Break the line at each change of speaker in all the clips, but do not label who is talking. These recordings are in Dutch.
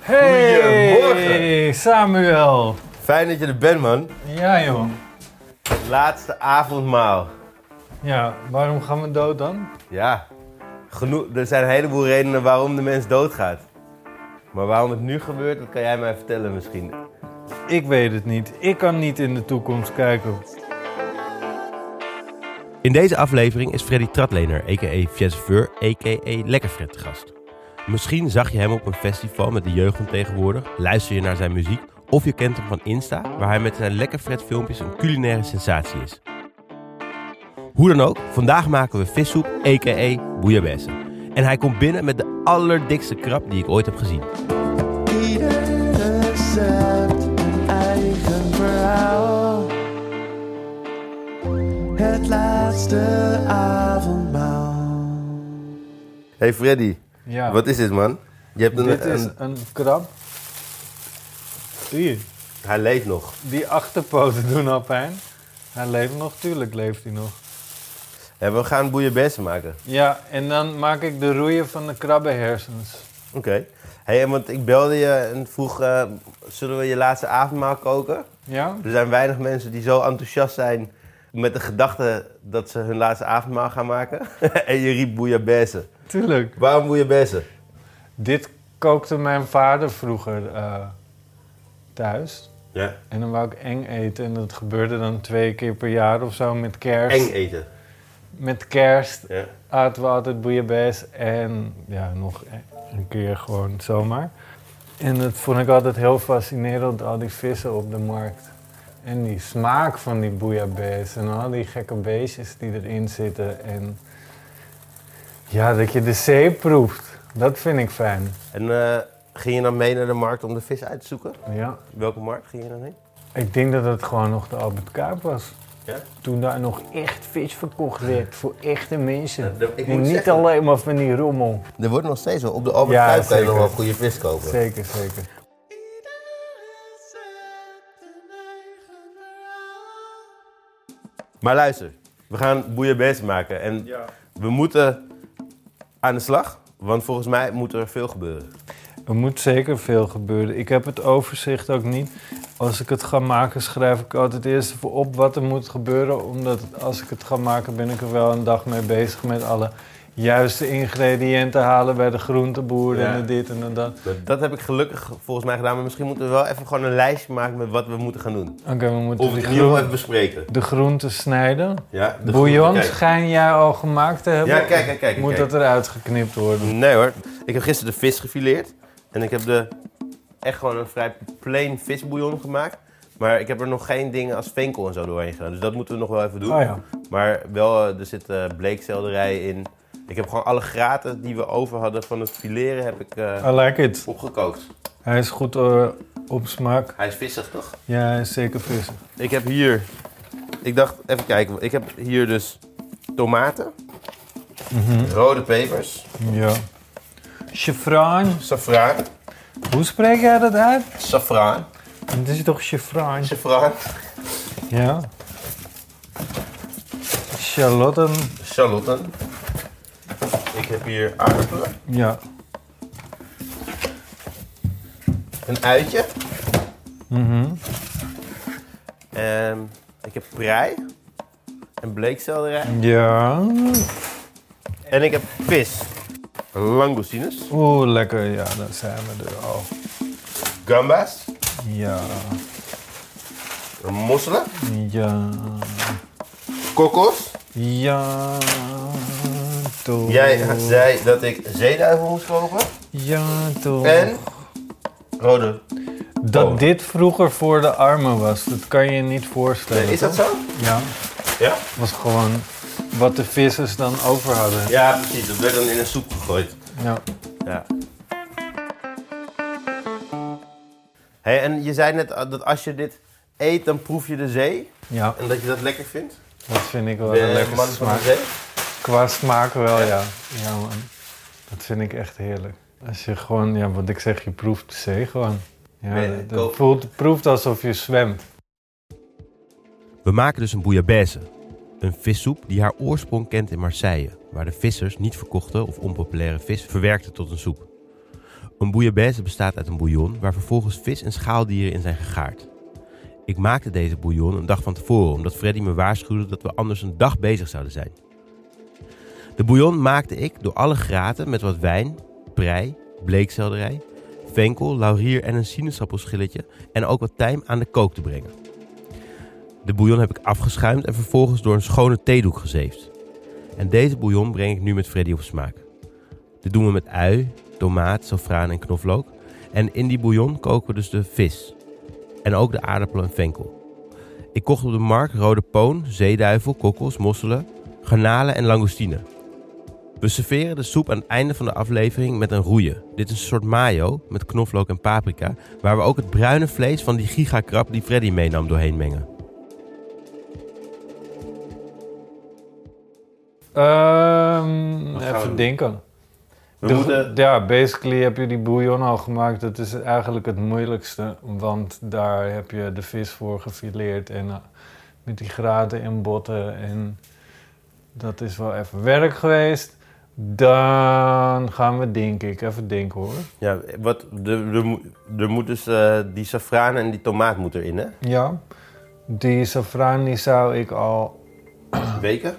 Hey,
Goedemorgen.
Samuel.
Fijn dat je er bent, man.
Ja, joh.
Laatste avondmaal.
Ja, waarom gaan we dood dan?
Ja, genoeg, er zijn een heleboel redenen waarom de mens doodgaat. Maar waarom het nu gebeurt, dat kan jij mij vertellen misschien.
Ik weet het niet. Ik kan niet in de toekomst kijken.
In deze aflevering is Freddy Tratlener, a.k.a. Fiesveur, a.k.a. Lekkerfred, te gast. Misschien zag je hem op een festival met de jeugd van tegenwoordig, luister je naar zijn muziek... of je kent hem van Insta, waar hij met zijn Lekkerfred filmpjes een culinaire sensatie is. Hoe dan ook, vandaag maken we vissoep, a.k.a. bouillabaisse. En hij komt binnen met de allerdikste krab die ik ooit heb gezien.
Ieder recept een eigen verhaal. Het laatste avondmaal.
Hey Freddy,
Ja,
wat is dit, man? Je hebt een,
dit is
een-
een krab. Zie je,
Hij leeft nog.
die achterpoten doen al pijn. Hij leeft nog, tuurlijk leeft hij nog.
En we gaan bouillabaisse maken.
Ja, en dan maak ik de roeien van de krabbenhersens.
Oké. Hey, en want ik belde je en vroeg, eh, zullen we je laatste avondmaal koken?
Ja?
Er zijn weinig mensen die zo enthousiast zijn met de gedachte dat ze hun laatste avondmaal gaan maken. en je riep bouillabaisse.
Tuurlijk.
Waarom bouillabaisse?
Dit kookte mijn vader vroeger eh, thuis.
Ja.
En dan wou ik eng eten. En dat gebeurde dan twee keer per jaar of zo met kerst.
Eng eten.
Met kerst
Ja.
aten we altijd bouillabaisse. En ja, nog e- een keer gewoon zomaar. En dat vond ik altijd heel fascinerend, al die vissen op de markt. En die smaak van die bouillabaisse en al die gekke beestjes die erin zitten. En ja, dat je de zee proeft. Dat vind ik fijn.
En eh, ging je dan mee naar de markt om de vis uit te zoeken?
Ja.
Welke markt ging je dan heen?
Ik denk dat het gewoon nog de Albert Kuip was.
Ja?
Toen daar nog echt vis verkocht werd voor echte mensen.
Ja, dat- ik
en
moet
niet
zeggen-
alleen maar van die rommel.
Er wordt nog steeds wel. Op de Albert
Ja,
Kuip kan je nog
zeker.
wel goede vis kopen.
Zeker, zeker.
Maar luister, we gaan bouillabaisse maken. En we moeten aan de slag, want volgens mij moet er veel gebeuren.
Er moet zeker veel gebeuren. Ik heb het overzicht ook niet. Als ik het ga maken, schrijf ik altijd eerst even op wat er moet gebeuren. Omdat als ik het ga maken, ben ik er wel een dag mee bezig met alle juiste ingrediënten halen bij de groenteboer
Ja.
en de dit en de dat.
Dat, dat heb ik gelukkig volgens mij gedaan. Maar misschien moeten we wel even gewoon een lijstje maken met wat we moeten gaan doen.
Oké, we moeten
Of het
die
in ieder geval
groen-
even bespreken.
de groenten snijden.
Ja, de
Bouillon
groenten, kijk.
schijn jij al gemaakt te hebben.
Ja, kijk, kijk, kijk.
Moet
kijk.
dat eruit geknipt worden?
Nee hoor. Ik heb gisteren de vis gefileerd. En ik heb de, echt gewoon een vrij plain visbouillon gemaakt. Maar ik heb er nog geen dingen als venkel en zo doorheen gedaan. Dus dat moeten we nog wel even doen.
Oh ja.
Maar wel, eh, er zit eh, bleekselderij in. Ik heb gewoon alle graten die we over hadden van het fileren heb ik eh,
I like it.
opgekookt.
Hij is goed eh, op smaak.
Hij is vissig toch?
Ja, hij is zeker vissig.
Ik heb hier... Ik dacht, even kijken. Ik heb hier dus tomaten. Rode pepers.
Ja. Chevraan.
Safraan.
Hoe spreek jij dat uit?
Safraan.
Het is toch chevraan?
Safraan.
Ja. Charlotten.
Charlotten. Ik heb hier aardappelen.
Ja.
Een uitje.
Mhm.
Ehm, ik heb prei. En bleekselderij.
Ja.
En ik heb vis. Langoustines.
Oeh, lekker. Ja, daar zijn we er al.
Gambas.
Ja.
Mosselen.
Ja.
Kokos.
Ja. Toch.
Jij zei dat ik zeeduivel moest kopen.
Ja, toch.
En rode.
Dat
Oh.
dit vroeger voor de armen was, dat kan je niet voorstellen.
Is dat
toch?
zo?
Ja,
Ja?
was gewoon wat de vissers dan over hadden. Ja.
Ja, precies. Dat werd dan in een soep gegooid. Ja. Hey, en je zei net eh, dat als je dit eet, dan proef je de zee.
Ja,
En dat je dat lekker vindt.
dat vind ik wel
Ben je
een
een man
lekkere
van de
smaak.
zee?
Qua smaak wel, ja. Ja, man. Dat vind ik echt heerlijk. Als je gewoon, ja, wat ik zeg, je proeft de zee gewoon. Ja,
Nee,
dat-
ik
dat
ook.
voelt, proeft alsof je zwemt.
We maken dus een bouillabaisse. Een vissoep die haar oorsprong kent in Marseille, waar de vissers niet verkochte of onpopulaire vis verwerkten tot een soep. Een bouillabaisse bestaat uit een bouillon waar vervolgens vis en schaaldieren in zijn gegaard. Ik maakte deze bouillon een dag van tevoren omdat Freddy me waarschuwde dat we anders een dag bezig zouden zijn. De bouillon maakte ik door alle graten met wat wijn, prei, bleekselderij, venkel, laurier en een sinaasappelschilletje en ook wat tijm aan de kook te brengen. De bouillon heb ik afgeschuimd en vervolgens door een schone theedoek gezeefd. En deze bouillon breng ik nu met Freddy op smaak. Dit doen we met ui, tomaat, safraan en knoflook. En in die bouillon koken we dus de vis. En ook de aardappel en venkel. Ik kocht op de markt rode poon, zeeduivel, kokkels, mosselen, garnalen en langoustine. We serveren de soep aan het einde van de aflevering met een roeien. Dit is een soort mayo met knoflook en paprika, waar we ook het bruine vlees van die gigakrab die Freddy meenam doorheen mengen.
Ehm,
Wat gaan we
even
doen?
denken.
We
De-
moeten...
Ja, basically heb je die bouillon al gemaakt. Dat is eigenlijk het moeilijkste. Want daar heb je de vis voor gefileerd. En eh, met die graten en botten. En dat is wel even werk geweest. Dan gaan we denk ik. Even denken hoor.
Ja, wat, er, er moet- er moet dus eh, die safraan en die tomaat moet erin, hè?
Ja. Die safraan die zou ik al...
Weken?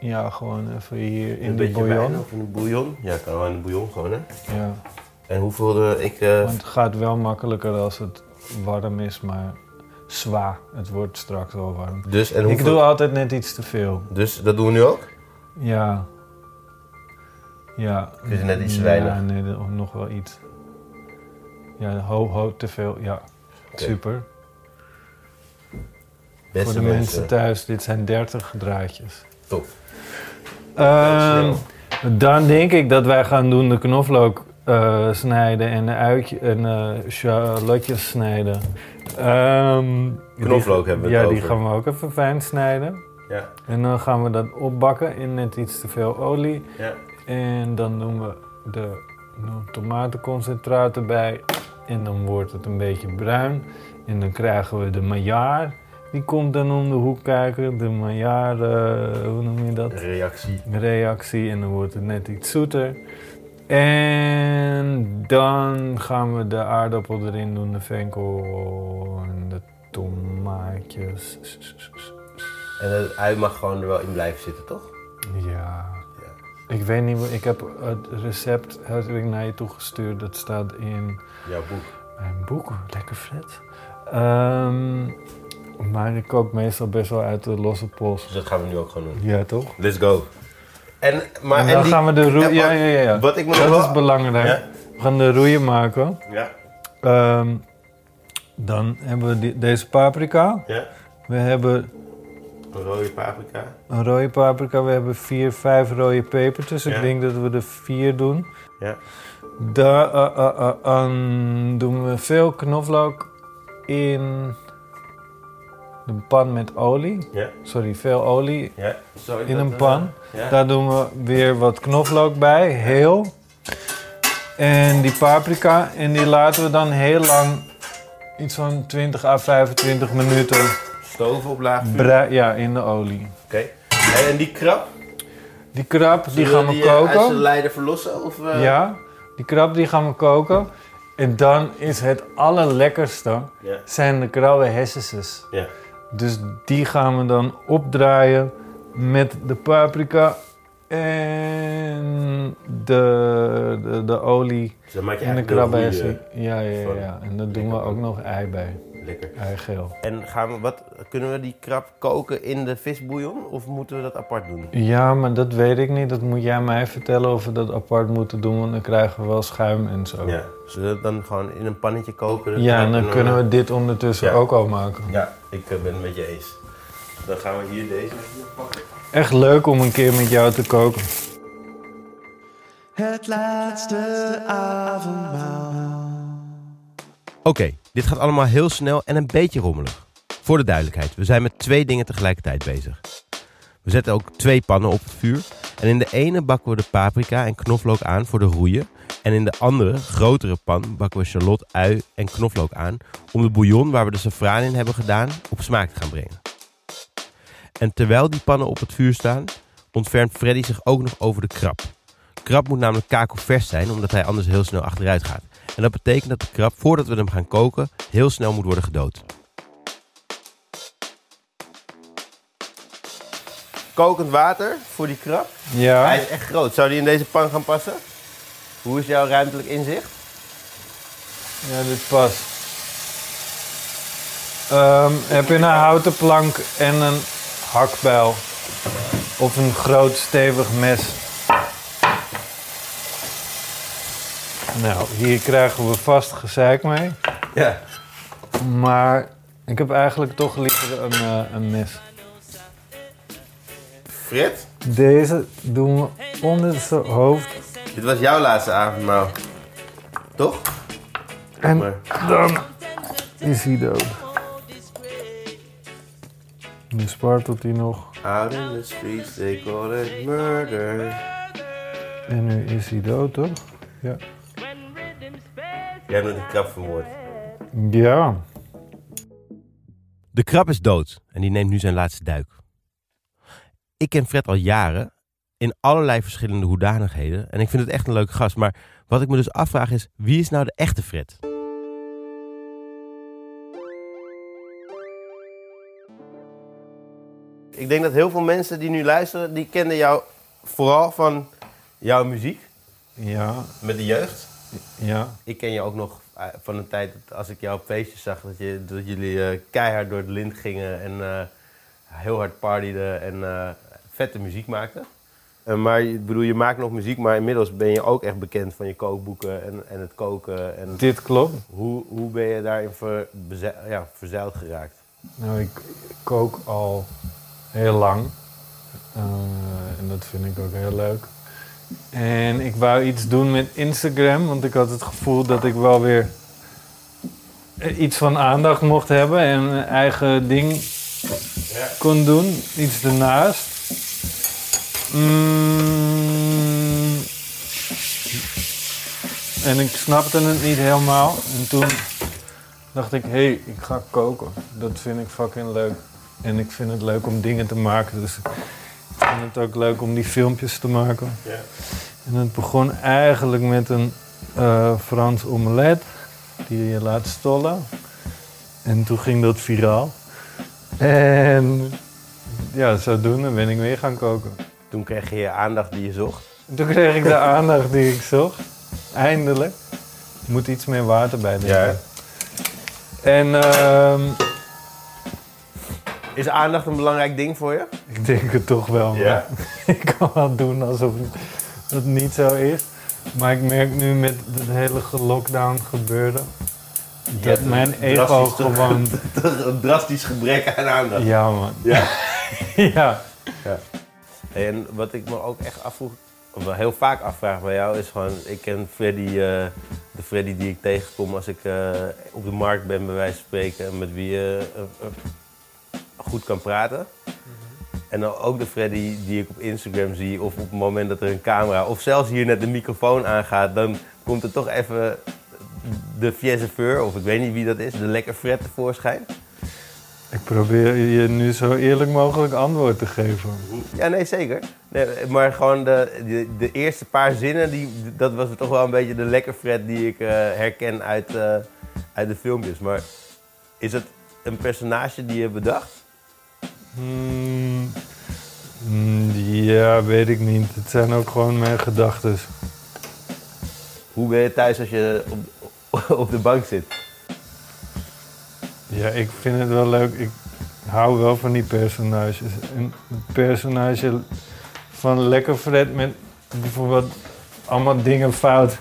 Ja, gewoon even hier in
een
de
beetje wijn
bouillon.
of in de bouillon. Ja, kan wel in de bouillon gewoon, hè?
Ja.
En hoeveel eh, ik... eh,
Want het gaat wel makkelijker als het warm is. Maar zwa. Het wordt straks wel warm.
dus, en
Ik
hoeveel...
doe altijd net iets te veel.
Dus dat doen we nu ook?
Ja. Ja.
is net iets te
Ja,
weinig.
nee, er- nog wel iets. Ja, ho, ho, te veel. Ja, super.
Beste
Voor de mensen. thuis, dit zijn 30 draadjes.
Top.
Ehm,
Dat is
dan denk ik dat wij gaan doen de knoflook eh, snijden en de uitje en eh shallotjes snijden. Ehm, die-
Knoflook hebben we
Ja,
het
die
over.
gaan we ook even fijn snijden.
Ja,
En dan gaan we dat opbakken in net iets te veel olie.
ja.
En dan doen we de no- tomatenconcentraat erbij. En dan wordt het een beetje bruin. En dan krijgen we de maillard. Die komt dan om de hoek kijken. De maillard, eh, hoe noem je dat?
Reactie.
Reactie. En dan wordt het net iets zoeter. En dan gaan we de aardappel erin doen, de venkel en de tomaatjes.
En het ui mag gewoon er wel in blijven zitten, toch?
Ja. Ik weet niet, wat- ik heb het recept heb ik naar je toegestuurd. Dat staat in
Jouw boek.
mijn boek. Lekker vet. Ehm, maar ik kook meestal best wel uit de losse pols.
Dus dat gaan we nu ook gewoon doen.
Ja, toch?
Let's go. En, maar,
En
en
dan
die-
gaan we de roeien...
en
Ja,
wat-
ja, ja. ja.
Wat ik me nog
Dat is
wel...
belangrijk.
Ja.
We gaan de roeien maken.
Ja,
Ehm, dan hebben we die- deze paprika.
ja.
We hebben
Een rode paprika.
een rode paprika. We hebben vier, vijf rode pepertjes.
Ja.
Ik denk dat we er vier doen.
Ja.
Daar eh, eh, eh, aan doen we veel knoflook in de pan met olie.
Ja,
Sorry, veel olie
ja. Zal ik
in
dat,
een
eh,
pan.
ja.
Daar doen we weer wat knoflook bij, heel. En die paprika. En die laten we dan heel lang, iets van 20 à 25 minuten,
Stoven op laag vuur.
brei- ja, in de olie.
Oké. En, en die krab?
Die krab, die
Zullen
gaan we
eh, Uit zijn
koken.
leider verlossen? Of, eh,
Ja, die krab die gaan we koken. En dan is het allerlekkerste
Ja.
zijn de krauwe hessenses.
Ja.
Dus die gaan we dan opdraaien met de paprika en de, de, de olie
Dus dan maak je
en de
eigenlijk
krabbessen.
roeien.
Ja, ja,
Sorry.
ja. En daar doen we
Lekker.
ook nog ei bij,
Lekker.
eigeel.
En gaan we, wat, kunnen we die krab koken in de visbouillon? Of moeten we dat apart doen?
Ja, maar dat weet ik niet. Dat moet jij mij vertellen of we dat apart moeten doen, want dan krijgen we wel schuim en zo.
Ja. Zullen we dat dan gewoon in een pannetje koken? de
Ja,
krab,
en dan kunnen we dit ondertussen
eh, Ja.
ook al maken.
Ja, ik eh, ben het met je eens. Dan gaan we hier deze hier pakken.
Echt leuk om een keer met jou te koken.
Het laatste avondmaal.
Oké, dit gaat allemaal heel snel en een beetje rommelig. Voor de duidelijkheid, we zijn met twee dingen tegelijkertijd bezig. We zetten ook twee pannen op het vuur. En in de ene bakken we de paprika en knoflook aan voor de roeien. En in de andere, grotere pan, bakken we shallot, ui en knoflook aan... om de bouillon waar we de safraan in hebben gedaan op smaak te gaan brengen. En terwijl die pannen op het vuur staan, ontfermt Freddy zich ook nog over de krab. krab moet namelijk kakelvers zijn, omdat hij anders heel snel achteruit gaat. En dat betekent dat de krab, voordat we hem gaan koken, heel snel moet worden gedood.
Kokend water voor die krab.
Ja.
Hij is echt groot. Zou die in deze pan gaan passen? Hoe is jouw ruimtelijk inzicht?
Ja, dit past. Ehm, heb je een houten plank en een hakbijl? Of een groot stevig mes? Nou, hier krijgen we vast gezeik mee.
Ja.
Maar ik heb eigenlijk toch liever een, eh, een mes.
Frit,
Deze doen we onder zijn hoofd.
dit was jouw laatste avondmaal. Toch?
En
Maar
dan is hij dood. Nu spartelt hij nog.
out in the streets, they call it murder.
En nu is hij dood, toch? Ja.
Jij hebt een krab vermoord.
Ja.
De krab is dood en die neemt nu zijn laatste duik. Ik ken Fred al jaren, in allerlei verschillende hoedanigheden. En ik vind het echt een leuke gast. Maar wat ik me dus afvraag is, wie is nou de echte Fred?
Ik denk dat heel veel mensen die nu luisteren, die kenden jou vooral van jouw muziek.
Ja.
Met de jeugd.
Ja.
Ik ken je ook nog eh, van een tijd dat als ik jou op feestjes zag, dat, je, dat jullie eh, keihard door het lint gingen en eh, heel hard partyden en eh, vette muziek maakten. Eh, maar je- ik bedoel, je maakt nog muziek, maar inmiddels ben je ook echt bekend van je kookboeken en, en het koken. En
Dit klopt.
hoe, hoe ben je daarin ver, beze- ja, verzeild geraakt?
Nou, ik kook al heel lang. Eh, en dat vind ik ook heel leuk. En ik wou iets doen met Instagram, want ik had het gevoel dat ik wel weer eh, iets van aandacht mocht hebben en een eigen ding kon doen. Iets ernaast. Mm. En ik snapte het niet helemaal. En toen dacht ik, hé, hey, ik ga koken. Dat vind ik fucking leuk. En ik vind het leuk om dingen te maken. Dus ik vind het ook leuk om die filmpjes te maken.
Ja.
En het begon eigenlijk met een eh, Frans omelet die je laat stollen. En toen ging dat viraal. En ja, zodoende ben ik weer gaan koken.
Toen kreeg je je aandacht die je zocht.
En toen kreeg ik de aandacht die ik zocht. Eindelijk. Er moet iets meer water bij, denk ik. En ehm,
Is aandacht een belangrijk ding voor je?
Ik denk het toch wel. maar
Ja.
Ik kan wel doen alsof het niet zo is. Maar ik merk nu met het hele lockdown gebeuren... dat
hebt
mijn
een
ego
drastisch te-
gewoon...
Een drastisch gebrek aan aandacht.
Ja, man.
Ja.
ja.
Hey, en wat ik me ook echt afvroeg, of wel heel vaak afvraag bij jou, is gewoon, ik ken Freddy, eh, de Freddy die ik tegenkom als ik eh, op de markt ben, bij wijze van spreken, en met wie je eh, eh, goed kan praten. En dan ook de Freddy die ik op Instagram zie, of op het moment dat er een camera, of zelfs hier net de microfoon aangaat, dan komt er toch even de fiesseveur, of ik weet niet wie dat is, de lekker Fred tevoorschijn.
Ik probeer je nu zo eerlijk mogelijk antwoord te geven.
Ja, nee, zeker. Nee, maar gewoon de, de, de eerste paar zinnen, die, dat was toch wel een beetje de lekker Fred die ik eh, herken uit, eh, uit de filmpjes. Maar is het een personage die je bedacht?
Hmm. Hmm, Ja, weet ik niet. Het zijn ook gewoon mijn gedachten.
Hoe ben je thuis als je op, op de bank zit?
Ja, ik vind het wel leuk. Ik hou wel van die personages. Een personage van Lekker Fred met bijvoorbeeld allemaal dingen fout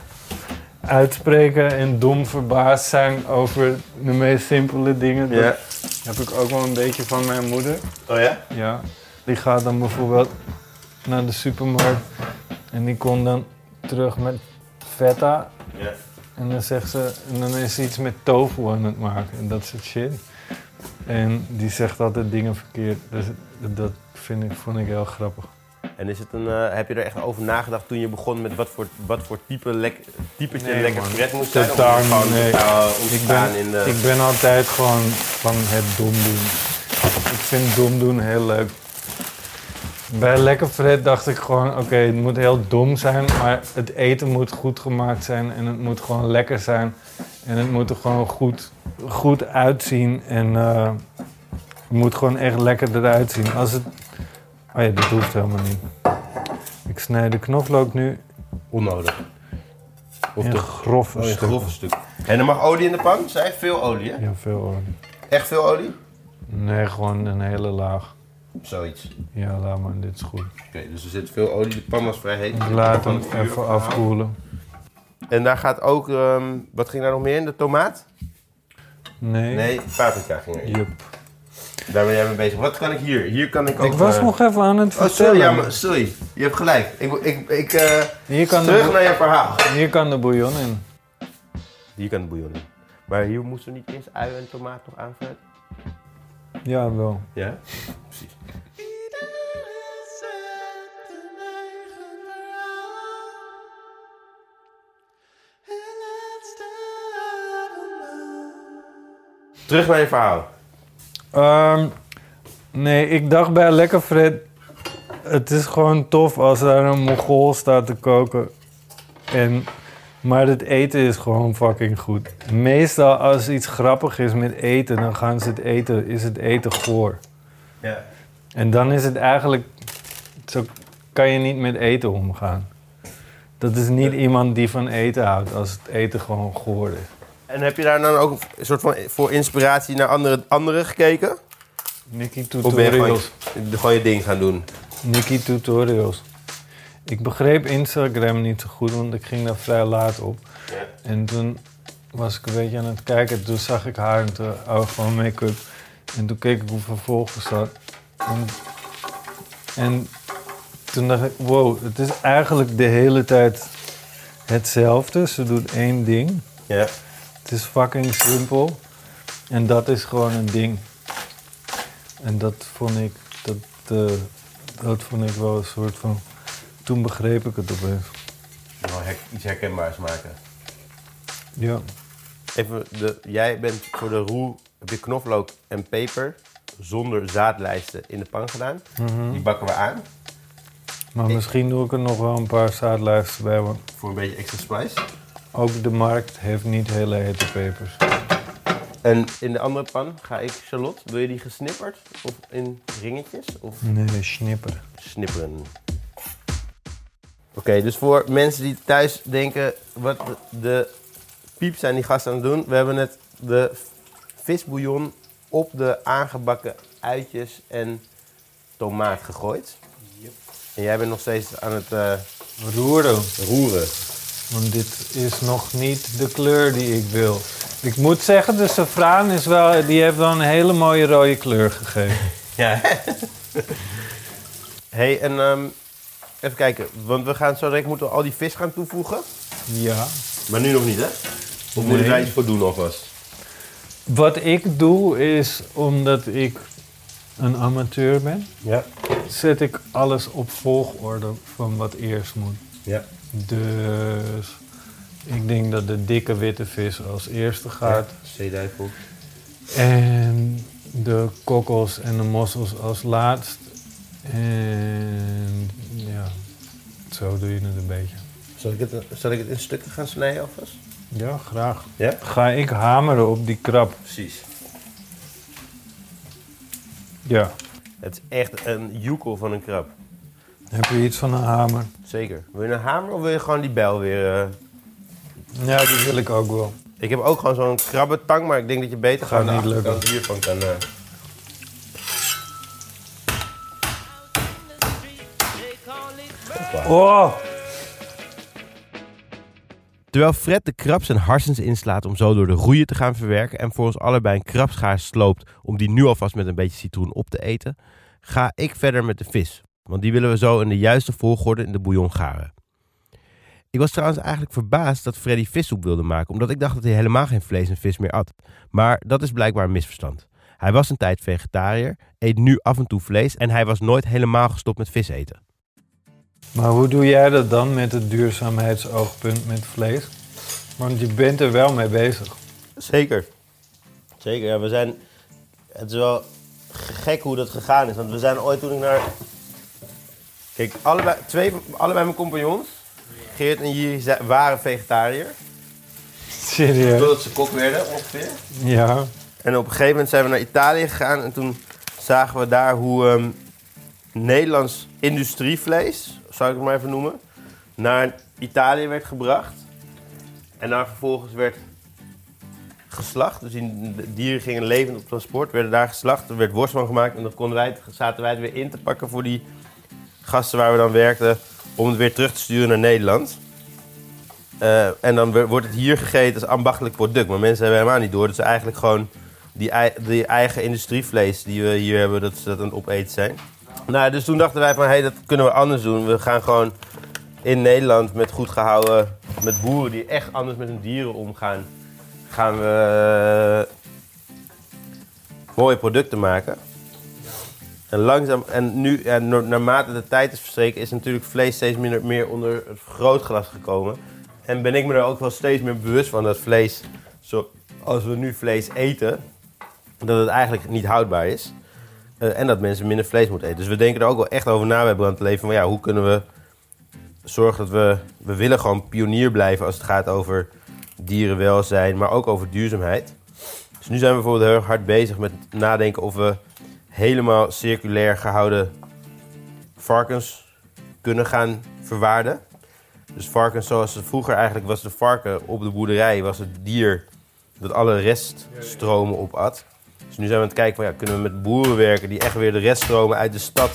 uitspreken en dom verbaasd zijn over de meest simpele dingen. Dat heb ik ook wel een beetje van mijn moeder.
Oh ja?
Ja, die gaat dan bijvoorbeeld naar de supermarkt en die komt dan terug met feta.
Ja.
En dan zegt ze, en dan is ze iets met tofu aan het maken en dat soort shit. En die zegt altijd dingen verkeerd. Dus dat vind ik, vond ik heel grappig.
En is het een, eh, heb je er echt over nagedacht toen je begon met wat voor, wat voor type lek, typetje
Nee,
lekker
man.
Fred moest zijn?
Totaal
Of is het gewoon
niet, nee.
totaal ontstaan in de...
Ik ben altijd gewoon van het dom doen. Ik vind dom doen heel leuk. Bij Lekker Fred dacht ik gewoon, oké, het moet heel dom zijn, maar het eten moet goed gemaakt zijn en het moet gewoon lekker zijn. En het moet er gewoon goed, goed uitzien en eh, het moet gewoon echt lekker eruit zien. Als het... Oh ja, dat hoeft helemaal niet. Ik snij de knoflook nu
Onnodig.
Of
in
toch
grove
Oh, een
stukken.
grove stuk. En er mag olie in de pan? Zij veel olie, hè?
Ja, veel olie.
Echt veel olie?
Nee, gewoon een hele laag.
Zoiets. Oké,
Ja, laat maar, dit is goed.
dus er zit veel olie. De pan was vrij heet.
Ik laat
Van
hem
het vuur
even
afgehaald.
afkoelen.
En daar gaat ook... ehm, wat ging daar nog meer in? De tomaat?
Nee.
Nee, paprika ging erin.
Jup.
Daar ben jij mee bezig. Wat kan ik hier? Hier kan ik ook...
Ik was
eh,
nog even aan het
Oh, sorry,
vertellen.
ja, maar, sorry. Je hebt gelijk. Ik, ik, ik, eh,
Hier kan de
terug
boel-
naar je verhaal.
Hier kan de bouillon in.
Hier kan de bouillon in. Maar hier moesten we niet eerst ui en tomaat nog aanvullen?
Ja, wel.
Ja, precies. Terug naar je verhaal.
Ehm, nee, ik dacht bij Lekker Fred... Het is gewoon tof als daar een Mongool staat te koken. En, maar het eten is gewoon fucking goed. Meestal als iets grappig is met eten, dan gaan ze het eten, is het eten goor.
Ja.
En dan is het eigenlijk... Zo kan je niet met eten omgaan. Dat is niet iemand die van eten houdt, als het eten gewoon goor is.
En heb je daar dan ook een soort van voor inspiratie naar andere, anderen gekeken?
Nicky
Of ben je gewoon,
Tutorials.
gewoon je ding gaan doen?
Nicky Tutorials. Ik begreep Instagram niet zo goed, want ik ging daar vrij laat op. En toen was ik een beetje aan het kijken. Toen zag ik haar en toen oh, gewoon make-up. En toen keek ik hoeveel volgers ze had. En, en toen dacht ik, wow, het is eigenlijk de hele tijd hetzelfde. Ze doet één ding.
Ja.
Het is fucking simpel. En dat is gewoon een ding. En dat vond ik, dat, eh, dat vond ik wel een soort van. Toen begreep ik het opeens.
Gewoon hek- iets herkenbaars maken.
Ja.
Even, de, jij bent voor de roe, heb je knoflook en peper zonder zaadlijsten in de pan gedaan. Die bakken we aan
Maar misschien doe ik er nog wel een paar zaadlijsten bij, want
voor een beetje extra spice.
ook de markt heeft niet hele hete pepers.
En in de andere pan ga ik, Charlotte, wil je die gesnipperd of in ringetjes? Of
Nee, snipper.
snipperen? Oké, dus voor mensen die thuis denken wat de, de piep zijn die gasten aan het doen. We hebben net de visbouillon op de aangebakken uitjes en tomaat gegooid. En jij bent nog steeds aan het eh,
Roeren.
roeren.
Want dit is nog niet de kleur die ik wil. Ik moet zeggen, de safraan is wel, die heeft wel een hele mooie rode kleur gegeven.
Ja. hey, en ehm, even kijken, want we gaan zo direct moeten we al die vis gaan toevoegen.
Ja.
Maar nu nog niet, hè? Of moet ik daar iets voor doen alvast?
Wat ik doe is, omdat ik een amateur ben,
Ja.
zet ik alles op volgorde van wat eerst moet.
Ja.
Dus ik denk dat de dikke witte vis als eerste gaat.
Zeeduivel.
En de kokkels en de mossels als laatst. En ja, zo doe je het een beetje.
Zal ik het, zal ik het in stukken gaan snijden alvast?
Ja, graag.
Ja.
Ga ik hameren op die krab?
Precies.
Ja.
Het is echt een joekel van een krab.
Heb je iets van een hamer?
Zeker. Wil je een hamer of wil je gewoon die bijl weer... eh?
Ja, die wil ik ook wel.
Ik heb ook gewoon zo'n krabbetang, maar ik denk dat je beter
Gaat
gewoon
niet
de
lukken.
achterkant hiervan kan... eh.
Oh!
Terwijl Fred de krabs en harsens inslaat om zo door de roeien te gaan verwerken en voor ons allebei een krabschaar sloopt om die nu alvast met een beetje citroen op te eten, ga ik verder met de vis. Want die willen we zo in de juiste volgorde in de bouillon garen. Ik was trouwens eigenlijk verbaasd dat Freddy vissoep wilde maken, omdat ik dacht dat hij helemaal geen vlees en vis meer at. Maar dat is blijkbaar een misverstand. Hij was een tijd vegetariër, eet nu af en toe vlees en hij was nooit helemaal gestopt met vis eten.
Maar hoe doe jij dat dan met het duurzaamheidsoogpunt met vlees? Want je bent er wel mee bezig.
Zeker. Zeker, ja, we zijn... Het is wel gek hoe dat gegaan is, want we zijn ooit toen ik naar Kijk, allebei, twee, allebei mijn compagnons, Geert en Jiri, ze- waren vegetariër.
Serieus?
Totdat ze kok werden, ongeveer.
Ja.
En op een gegeven moment zijn we naar Italië gegaan en toen zagen we daar hoe ehm, Nederlands industrievlees, zou ik het maar even noemen, naar Italië werd gebracht. En daar vervolgens werd geslacht. Dus die de dieren gingen levend op transport, werden daar geslacht, er werd worst van gemaakt en dat konden wij, zaten wij het weer in te pakken voor die gasten waar we dan werkten, om het weer terug te sturen naar Nederland. Eh, en dan we- wordt het hier gegeten als ambachtelijk product. Maar mensen hebben helemaal niet door. Dat ze eigenlijk gewoon die, ei- die eigen industrievlees die we hier hebben, dat ze dat aan het opeten zijn. Nou, dus toen dachten wij van, hé, hey, dat kunnen we anders doen. We gaan gewoon in Nederland met goed gehouden, met boeren die echt anders met hun dieren omgaan, gaan we eh, mooie producten maken. En langzaam, en nu, en na- naarmate de tijd is verstreken, is natuurlijk vlees steeds minder, meer onder het vergrootglas gekomen. En ben ik me er ook wel steeds meer bewust van dat vlees, zoals we nu vlees eten, dat het eigenlijk niet houdbaar is. Eh, en dat mensen minder vlees moeten eten. Dus we denken er ook wel echt over na bij brandleven. Van ja, hoe kunnen we zorgen dat we. We willen gewoon pionier blijven als het gaat over dierenwelzijn, maar ook over duurzaamheid. Dus nu zijn we bijvoorbeeld heel erg hard bezig met nadenken of we helemaal circulair gehouden varkens kunnen gaan verwaarden. Dus varkens zoals het vroeger eigenlijk was de varken op de boerderij, was het dier dat alle reststromen opat. Dus nu zijn we aan het kijken van ja, kunnen we met boeren werken die echt weer de reststromen uit de stad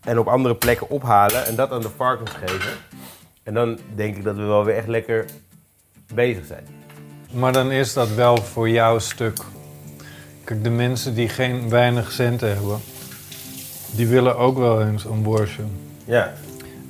en op andere plekken ophalen en dat aan de varkens geven. En dan denk ik dat we wel weer echt lekker bezig zijn.
Maar dan is dat wel voor jouw stuk. Kijk, de mensen die geen weinig centen hebben, die willen ook wel eens een borstje.
Ja,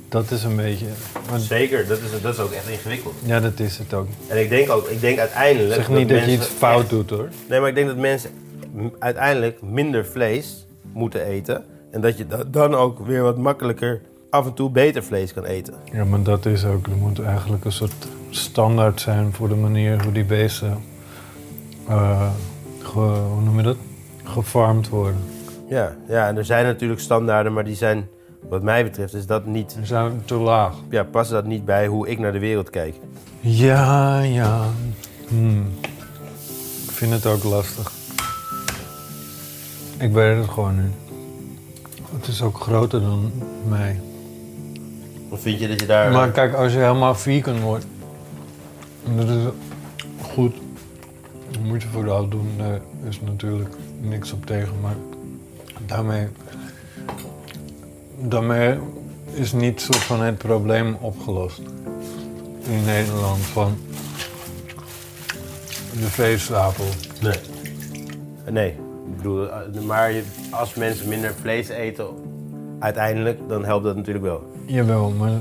Dat is een beetje. want-
zeker. Dat is, dat is ook echt ingewikkeld.
ja, dat is het ook.
En ik denk ook, ik denk uiteindelijk...
Zeg niet dat je iets
mensen
fout
echt-
doet hoor.
Nee, maar ik denk dat mensen m- uiteindelijk minder vlees moeten eten. En dat je da- dan ook weer wat makkelijker af en toe beter vlees kan eten.
Ja, maar dat is ook. Er moet eigenlijk een soort standaard zijn voor de manier hoe die beesten. eh, ge- hoe noem je dat? Gefarmd worden.
Ja, ja, en er zijn natuurlijk standaarden, maar die zijn, wat mij betreft, is dat niet,
Ze zijn te laag.
ja, past dat niet bij hoe ik naar de wereld kijk.
Ja, ja. Hmm. Ik vind het ook lastig. Ik weet het gewoon niet. Het is ook groter dan mij.
Of vind je dat je daar...
Maar kijk, als je helemaal vegan wordt, en dat is goed. Dat moet je vooral doen. Daar is natuurlijk niks op tegen. Maar daarmee, daarmee is niet zo van het probleem opgelost in Nederland van de veestapel.
Nee. Nee, ik bedoel, eh, maar je- als mensen minder vlees eten, uiteindelijk, dan helpt dat natuurlijk wel.
Jawel, maar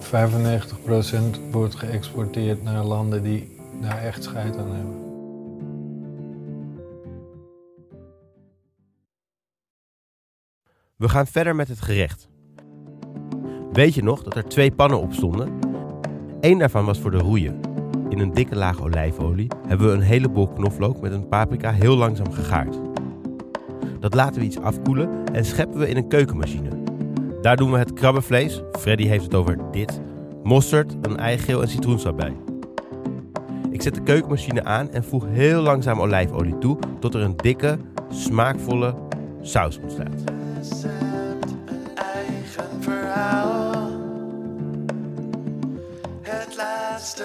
95% wordt geëxporteerd naar landen die daar echt scheid aan hebben.
We gaan verder met het gerecht. Weet je nog dat er twee pannen op stonden? Eén daarvan was voor de roeien. In een dikke laag olijfolie hebben we een heleboel knoflook met een paprika heel langzaam gegaard. Dat laten we iets afkoelen en scheppen we in een keukenmachine. Daar doen we het krabbenvlees, Freddy heeft het over dit, mosterd, een eigeel en citroensap bij. Ik zet de keukenmachine aan en voeg heel langzaam olijfolie toe tot er een dikke, smaakvolle saus ontstaat.
recept, een eigen verhaal. Het laatste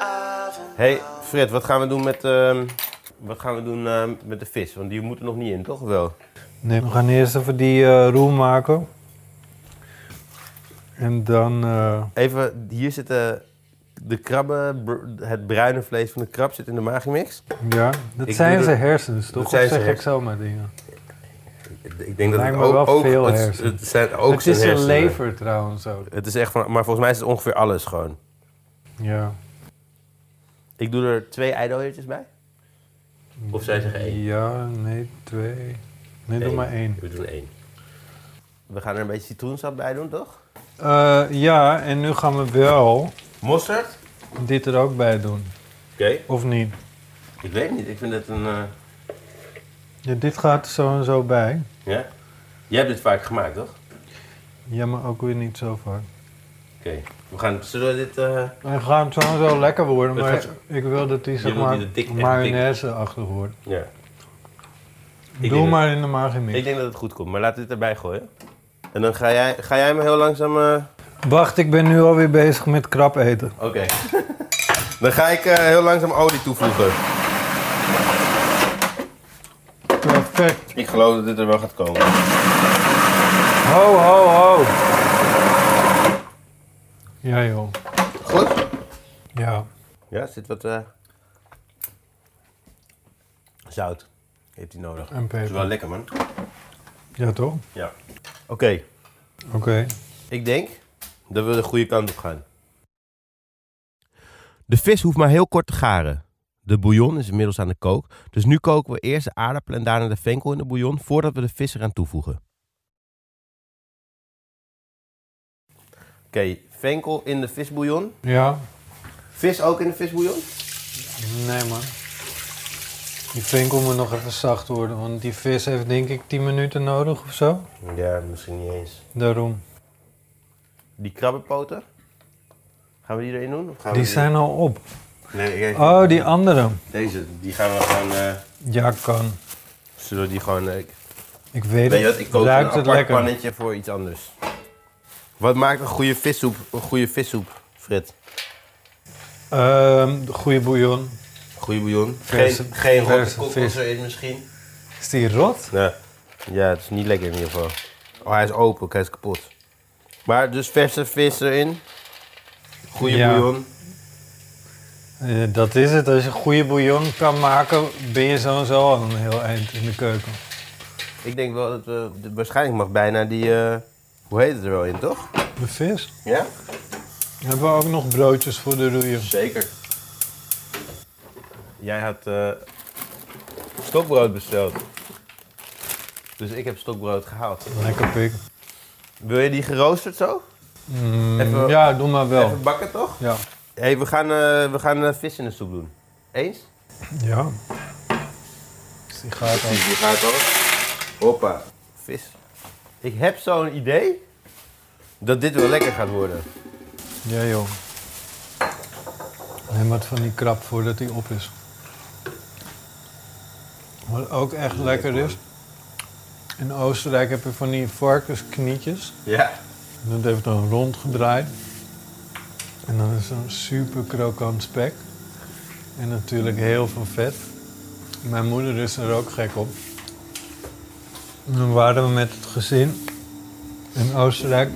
avond.
hey, Fred, wat gaan we doen met, ehm, wat gaan we doen, ehm, met de vis? Want die moet er nog niet in, toch? Wel?
Nee, we gaan eerst even die eh roe maken. En dan. eh,
Even, hier zitten de krabben, br- het bruine vlees van de krab zit in de magimix.
ja, dat
Ik
zijn
doe
zijn
de-
hersens,
dat
toch? Of
zijn
zeg
zijn
ik zomaar dingen?
Ik denk dat
Lijkt
het
me
ook,
wel
ook-
veel
het,
hersenen.
het zijn ook
het is
zijn
een
hersenen.
lever trouwens ook.
Het is echt van, maar volgens mij is het ongeveer alles gewoon.
Ja.
Ik doe er twee eidooiertjes bij. Of zij zeggen één.
Ja, nee, twee. Nee, doe
Eén.
maar één.
We doen één. We gaan er een beetje citroensap bij doen, toch?
Eh, ja, en nu gaan we wel
Mosterd? Oké.
dit er ook bij doen. Of niet?
Ik weet niet, ik vind het een... eh,
Ja, dit gaat er zo en zo bij.
ja? Jij hebt dit vaak gemaakt, toch?
Ja, maar ook weer niet zo vaak.
we gaan, zullen we dit... eh,
Hij gaat sowieso lekker worden,
Het
maar
gaat-
ik wil dat die zeg
wilt
maar
die er dik- echt dik-
mayonaise-achtig wordt.
ja. denk
Doe
dat-
maar in de margimix.
Ik denk dat het goed komt, maar laten we dit erbij gooien. En dan ga jij, ga jij me heel langzaam... eh,
Wacht, ik ben nu alweer bezig met krap eten.
Oké. dan ga ik eh, heel langzaam olie toevoegen.
Perfect.
Ik geloof dat dit er wel gaat komen.
Ho, ho, ho. Ja, joh.
Goed?
Ja.
Ja, er zit wat... eh, Zout. Heeft hij nodig.
En
Dat is wel
peper.
lekker, man.
Ja, toch?
Ja. Oké,
Oké.
ik denk dat we de goede kant op gaan.
De vis hoeft maar heel kort te garen. De bouillon is inmiddels aan de kook, dus nu koken we eerst de aardappel en daarna de venkel in de bouillon voordat we de vis eraan toevoegen.
Oké, venkel in de visbouillon.
Ja.
Vis ook in de visbouillon?
Nee, man. Die vinkel moet nog even zacht worden, want die vis heeft denk ik 10 minuten nodig of zo.
Ja, misschien niet eens.
Daarom.
Die krabbenpoten? Gaan we die erin doen? Of gaan
Die
we
zijn al op.
Nee, ik-
Oh, die andere.
Deze, die gaan we gewoon... eh,
Ja, kan.
zullen we die gewoon... eh,
Ik weet,
weet je
het.
wat, ik kook
Ruikt
een
het
apart
lekker.
pannetje voor iets anders. Wat maakt een goede vissoep, een goede vissoep, Fred?
Ehm, de goede bouillon.
Goede bouillon.
Verse-
geen geen rotte
verse
kokkels
vis.
erin misschien?
Is die rot?
Ja. ja, het is niet lekker in ieder geval. Oh, hij is open, hij is kapot. Maar dus verse vis erin. Goede
Ja.
bouillon.
Eh, dat is het. Als je goede bouillon kan maken, ben je sowieso al een heel eind in de keuken.
Ik denk wel dat we... de- Waarschijnlijk mag bijna die... eh, hoe heet het er wel in, toch?
De vis.
Ja?
Hebben we ook nog broodjes voor de roeien?
Zeker. Jij had eh, stokbrood besteld. Dus ik heb stokbrood gehaald.
Lekker pik.
Wil je die geroosterd zo?
Mm,
Even-
ja, doe maar wel.
Even bakken toch?
Ja.
Hé, hey, we gaan, eh, we gaan eh, vis in de soep doen. Eens?
Ja. Dus die gaat al.
Die gaat al. Hoppa. Vis. Ik heb zo'n idee dat dit wel lekker gaat worden.
Ja, joh. Neem wat van die krap voordat die op is. Wat ook echt lekker is. In Oostenrijk heb je van die varkensknietjes.
Ja.
Dat heeft dan rondgedraaid. En dan is zo'n super krokant spek. En natuurlijk heel veel vet. Mijn moeder is er ook gek op. En dan waren we met het gezin in Oostenrijk.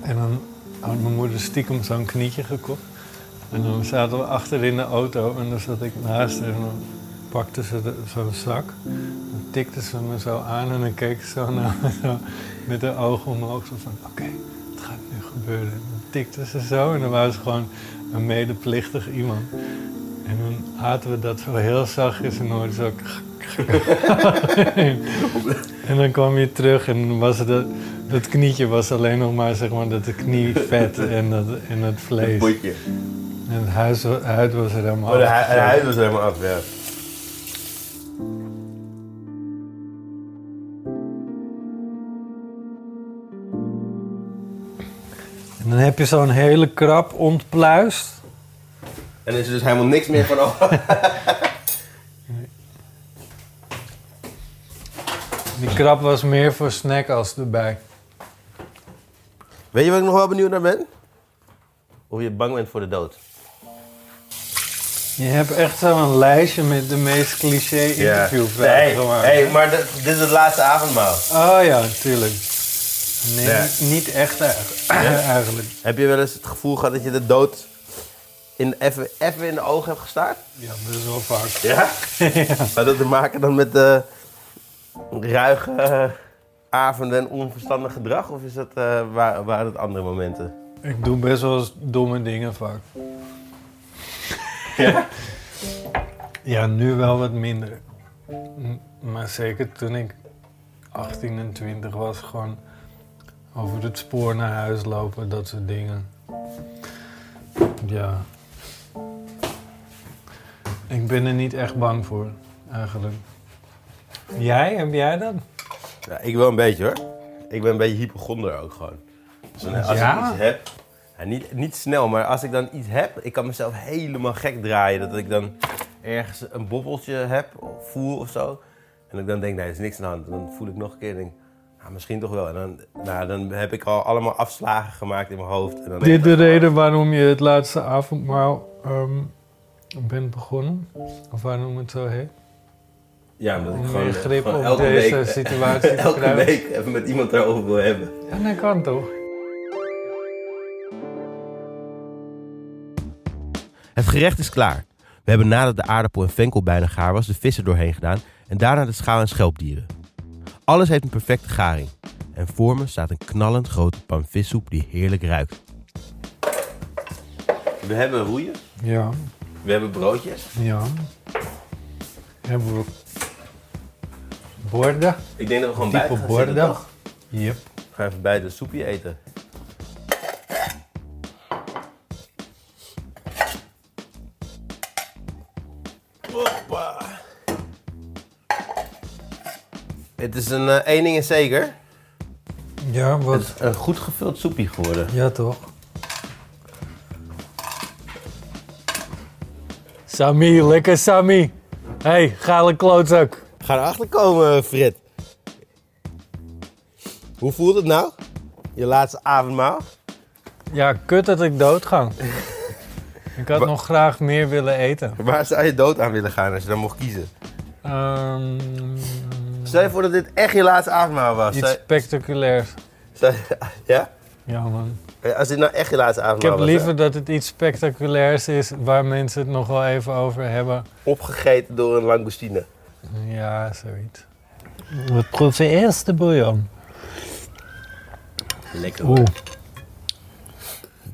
En dan had mijn moeder stiekem zo'n knietje gekocht. En dan zaten we achter in de auto en dan zat ik naast haar en dan pakte ze de- zo'n zak. Dan tikte ze me zo aan en dan keek ze zo naar me zo met haar ogen omhoog. Zo van, oké, het gaat nu gebeuren. En dan tikte ze zo en dan was ze gewoon een medeplichtig iemand. En dan aten we dat zo heel zachtjes en dan hoorde ze ook... en dan kwam je terug en dan was dat, dat knietje was alleen nog maar, zeg maar, dat de knie vet en, dat, en het
Een
vlees.
potje.
En het huis, huid was er helemaal
Oh, de, hui-
afgezaagd.
de huid was helemaal af, ja.
En dan heb je zo'n hele krap ontpluist.
En is er dus helemaal niks meer van over.
Die krap was meer voor snack als erbij.
Weet je wat ik nog wel benieuwd naar ben? Of je bang bent voor de dood.
Je hebt echt zo'n lijstje met de meest cliché interviewvragen
Nee,
gemaakt.
hey, maar dit, dit is het laatste avondmaal.
Oh ja, tuurlijk. Nee,
Ja.
niet- niet echt eigenlijk. eigenlijk.
Heb je wel eens het gevoel gehad dat je de dood in, even, even in de ogen hebt gestaard?
Ja, best wel vaak.
Ja. Had dat te maken dan met eh, ruige eh, avonden en onverstandig gedrag? Of is dat, eh, wa- waren het andere momenten?
Ik doe best wel eens domme dingen vaak. Ja? Ja, nu wel wat minder. M- Maar zeker toen ik 18 en 20 was, gewoon over het spoor naar huis lopen, dat soort dingen. Ja. Ik ben er niet echt bang voor, eigenlijk. Jij, heb jij dat?
Ja, ik wel een beetje hoor. Ik ben een beetje hypochonder ook gewoon. En als ik
Ja?
iets heb, ja, niet, niet snel, maar als ik dan iets heb, ik kan mezelf helemaal gek draaien. Dat ik dan ergens een bobbeltje heb, of voel of zo. En ik dan denk, nee, er is niks aan de hand. Dan voel ik nog een keer en denk, ah, misschien toch wel. En dan, nou, dan heb ik al allemaal afslagen gemaakt in mijn hoofd. En dan
Dit de reden waarom je het laatste avondmaal ehm, bent begonnen? Of waarom het zo heet?
Ja, omdat ik
Om
gewoon,
meer grip
gewoon
op
elke
deze
week,
situatie te
elke
krijgen.
week even met iemand daarover wil hebben.
Ja, dat kan toch?
Het gerecht is klaar. We hebben nadat de aardappel en venkel bijna gaar was, de vissen doorheen gedaan en daarna de schaal en schelpdieren. Alles heeft een perfecte garing. En voor me staat een knallend grote pan vissoep die heerlijk ruikt.
We hebben roeien,
Ja,
we hebben broodjes.
ja. Hebben we borden?
Ik denk dat we gewoon bij
Type
gaan zitten,
borden?
toch?
Yep.
We gaan even bij de soepje eten. Hoppa. Het is een, eh, één ding is zeker.
Ja,
Het
wat?
is een goed gevuld soepje geworden.
Ja, toch? Sami, lekker Sami. Hé, hey, gale klootzak.
Ga erachter komen, Frit. Hoe voelt het nou? Je laatste avondmaal?
Ja, kut dat ik doodga. ik had
Wa-
nog graag meer willen eten.
Waar zou je dood aan willen gaan als je dan mocht kiezen?
Ehm,
Stel je voor dat dit echt je laatste avondmaal was.
iets
Stel-
spectaculairs.
stel je- ja?
Ja, man.
Als dit nou echt je laatste
Ik
avondmaal
heb
was.
liever dat het iets spectaculairs is waar mensen het nog wel even over hebben.
hè? Opgegeten door een langoustine.
Ja, zoiets. We proeven eerst de bouillon.
Lekker
Oeh,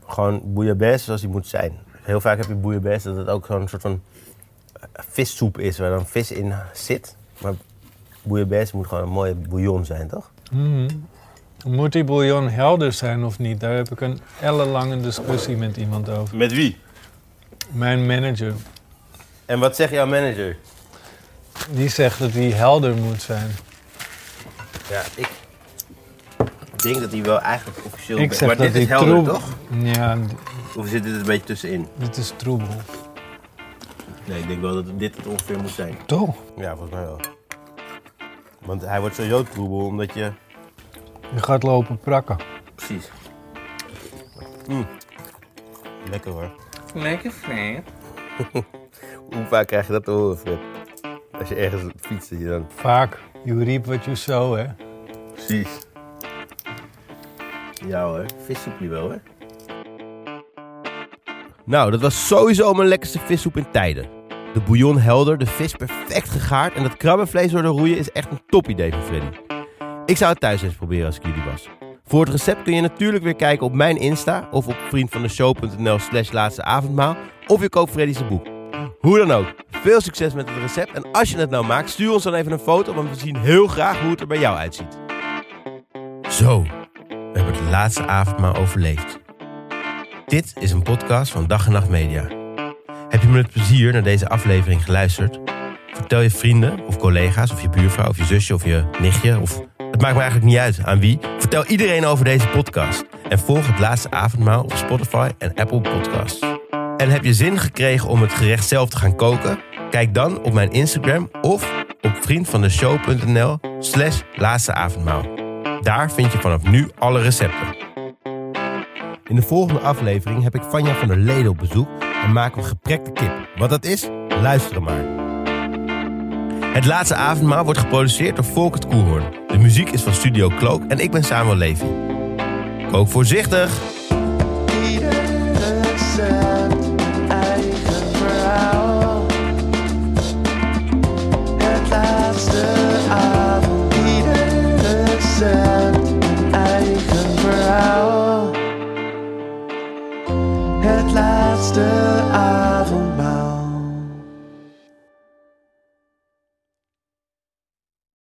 Gewoon bouillabaisse zoals die moet zijn. Heel vaak heb je bouillabaisse dat het ook zo'n soort van eh, vissoep is waar dan vis in zit. Maar bouillabaisse moet gewoon een mooie bouillon zijn, toch?
mm. moet die bouillon helder zijn of niet? Daar heb ik een ellenlange discussie met iemand over.
Met wie?
Mijn manager,
En wat zegt jouw manager?
die zegt dat die helder moet zijn.
Ja, ik denk dat hij wel eigenlijk officieel...
Ik zeg
maar
dat
dit is
die
helder,
troep-
toch?
Ja, d-
Of zit dit een beetje tussenin?
dit is troebel.
Nee, ik denk wel dat dit het ongeveer moet zijn.
Toch?
Ja, volgens mij wel. Want hij wordt sowieso troebel omdat je...
Je gaat lopen prakken.
Precies. Mm. Lekker hoor.
Lekker fijn.
Hoe vaak krijg je dat te horen, Fred? Als je ergens op fietst, dat je dan...
Vaak. You reap what you sow, hè?
Precies. Ja hoor, vissoepje wel hoor.
Nou, dat was sowieso mijn lekkerste vissoep in tijden. De bouillon helder, de vis perfect gegaard en dat krabbenvlees door de roeien is echt een top idee van Freddy. Ik zou het thuis eens proberen als ik jullie was. Voor het recept kun je natuurlijk weer kijken op mijn Insta of op vriendvandeshow.nl slash laatste avondmaal of je koopt Freddy's boek. Hoe dan ook, veel succes met het recept en als je het nou maakt, stuur ons dan even een foto, want we zien heel graag hoe het er bij jou uitziet. Zo, we hebben het laatste avondmaal overleefd. Dit is een podcast van Dag en Nacht Media. Heb je met plezier naar deze aflevering geluisterd? Vertel je vrienden of collega's of je buurvrouw of je zusje of je nichtje of... Het maakt me eigenlijk niet uit aan wie. Vertel iedereen over deze podcast. En volg het laatste avondmaal op Spotify en Apple Podcasts. En heb je zin gekregen om het gerecht zelf te gaan koken? Kijk dan op mijn Instagram of op vriendvandeshow.nl slash laatste avondmaal. Daar vind je vanaf nu alle recepten. In de volgende aflevering heb ik Vanja van der Leden op bezoek en maken we geprekte kip. Wat dat is, luisteren maar. Het laatste avondmaal wordt geproduceerd door Volkert Koehoorn. De muziek is van Studio Cloak en ik ben Samuel Levy. Kook voorzichtig!
Ieder recept een eigen verhaal. Het laatste avond. Ieder recept een eigen verhaal. Het laatste avond.